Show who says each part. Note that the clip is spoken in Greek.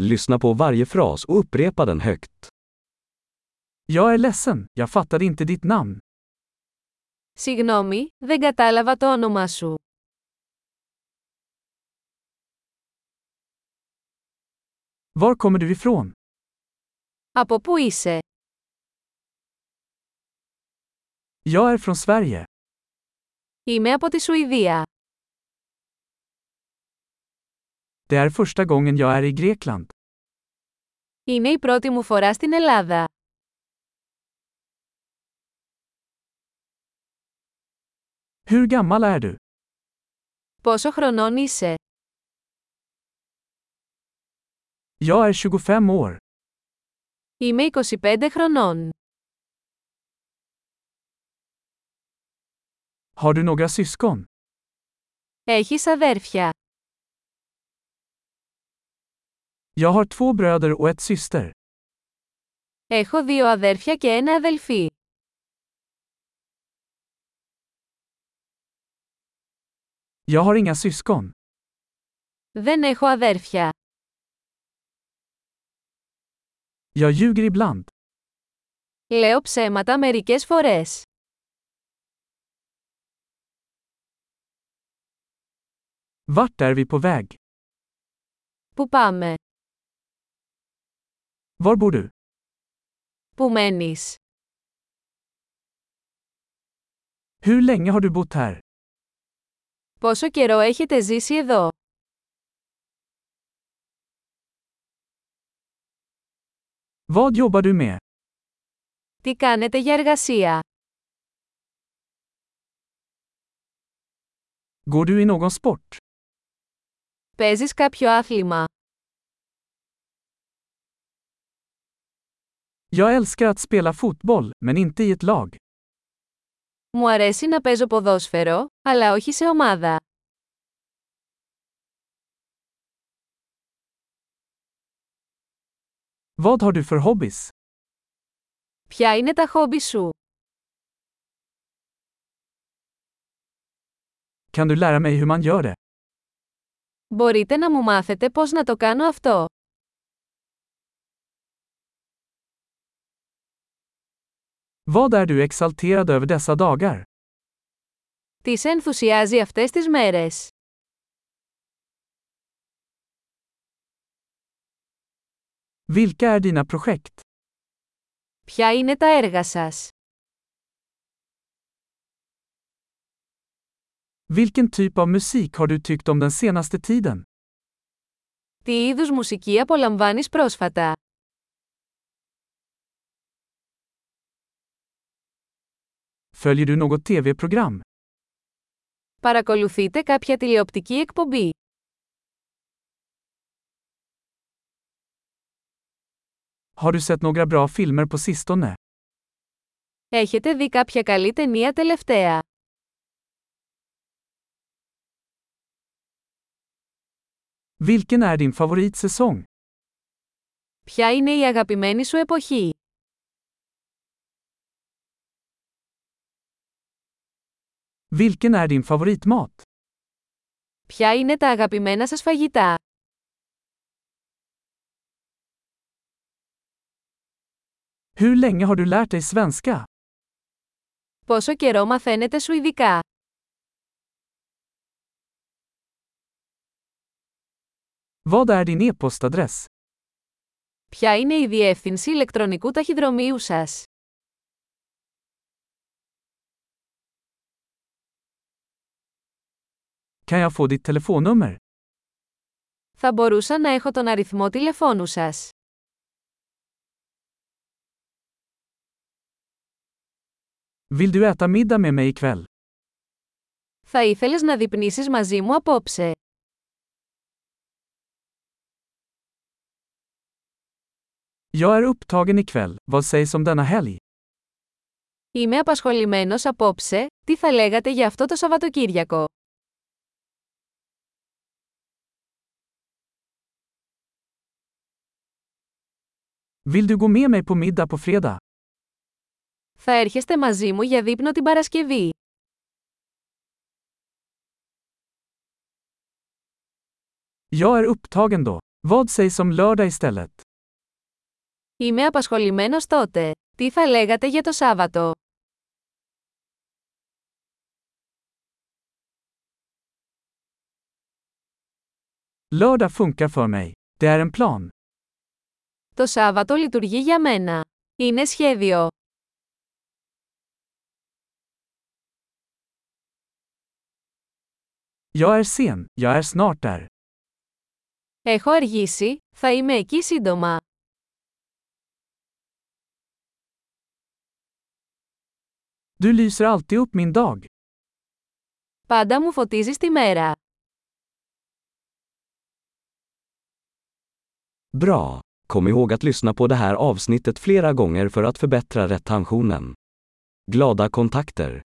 Speaker 1: Lyssna på varje fras och upprepa den högt.
Speaker 2: Jag är ledsen, jag fattade inte ditt namn.
Speaker 3: Συγγνώμη, δεν κατάλαβα το όνομά σου.
Speaker 2: Var kommer du ifrån?
Speaker 3: Από πού είσαι?
Speaker 2: Jag är från Sverige.
Speaker 3: Είμαι από τη Σουηδία.
Speaker 2: Det är första gången jag är i Grekland.
Speaker 3: Είναι η πρώτη μου φορά στην Ελλάδα.
Speaker 2: Hur gammal är du?
Speaker 3: Πόσο χρονών είσαι?
Speaker 2: Jag är 25 år.
Speaker 3: Είμαι 25 χρονών.
Speaker 2: Har du några syskon?
Speaker 3: Έχεις αδέρφια.
Speaker 2: Jag har två bröder och ett syster.
Speaker 3: Έχω δύο αδέρφια και ένα αδελφή.
Speaker 2: Jag har inga syskon.
Speaker 3: Δεν έχω αδέρφια.
Speaker 2: Jag ljuger ibland.
Speaker 3: Λέω ψέματα μερικές φορές.
Speaker 2: Vart är vi på väg?
Speaker 3: Πού πάμε?
Speaker 2: Var bor du?
Speaker 3: Πού μένεις?
Speaker 2: Hur länge har du bott här?
Speaker 3: Πόσο καιρό έχετε ζήσει εδώ?
Speaker 2: Vad jobbar du med?
Speaker 3: Τι κάνετε για εργασία?
Speaker 2: Går du i någon sport?
Speaker 3: Παίζεις κάποιο άθλημα?
Speaker 2: Jag älskar att spela fotboll, men inte i ett lag.
Speaker 3: Μου αρέσει να παίζω ποδόσφαιρο, αλλά όχι σε ομάδα.
Speaker 2: Vad har du för hobbys?
Speaker 3: Ποια είναι τα χόμπι σου?
Speaker 2: Kan du lära mig hur man gör det?
Speaker 3: Μπορείτε να μου μάθετε πώς να το κάνω αυτό.
Speaker 2: Vad är du exalterad över dessa dagar?
Speaker 3: Τι σε ενθουσιάζει αυτές τις μέρες?
Speaker 2: Vilka är dina projekt?
Speaker 3: Ποια είναι τα έργα σας?
Speaker 2: Vilken typ av musik har du tyckt om den senaste tiden?
Speaker 3: Τι είδους μουσική απολαμβάνεις πρόσφατα?
Speaker 2: Följer du något tv-program?
Speaker 3: Παρακολουθείτε κάποια τηλεοπτική εκπομπή.
Speaker 2: Har du sett några bra filmer på sistone?
Speaker 3: Έχετε δει κάποια καλή ταινία τελευταία.
Speaker 2: Vilken är din favoritsäsong?
Speaker 3: Ποια είναι η αγαπημένη σου εποχή?
Speaker 2: Vilken är din favoritmat?
Speaker 3: Ποια είναι τα αγαπημένα σας φαγητά?
Speaker 2: Hur länge har du lärt dig svenska?
Speaker 3: Πόσο καιρό μαθαίνετε σου ειδικά?
Speaker 2: Vad är din e-postadress?
Speaker 3: Ποια είναι η διεύθυνση ηλεκτρονικού ταχυδρομείου σας?
Speaker 2: Kan jag få ditt telefonnummer?
Speaker 3: Θα μπορούσα να έχω τον αριθμό τηλεφώνου σας.
Speaker 2: Vill du äta middag med mig ikväll?
Speaker 3: Θα ήθελες να δειπνήσεις μαζί μου απόψε.
Speaker 2: Jag är upptagen ikväll, vad sägs om denna helg?
Speaker 3: Είμαι απασχολημένος απόψε, τι θα λέγατε για αυτό το Σαββατοκύριακο.
Speaker 2: Vill du gå med mig på middag på fredag?
Speaker 3: Θα έρχεστε μαζί μου για δείπνο την Παρασκευή.
Speaker 2: Jag är upptagen då. Vad sägs om lördag istället?
Speaker 3: Είμαι απασχολημένος τότε. Τι θα λέγατε για το Σάββατο?
Speaker 2: Lördag funkar för mig. Det är en plan.
Speaker 3: Το Σάββατο λειτουργεί για μένα. Είναι σχέδιο.
Speaker 2: Jag är sen, jag är snart där.
Speaker 3: Έχω αργήσει, θα είμαι εκεί σύντομα.
Speaker 2: Du lyser alltid upp min dag.
Speaker 3: Πάντα μου φωτίζεις τη μέρα.
Speaker 1: Bra! Kom ihåg att lyssna på det här avsnittet flera gånger för att förbättra retentionen. Glada kontakter!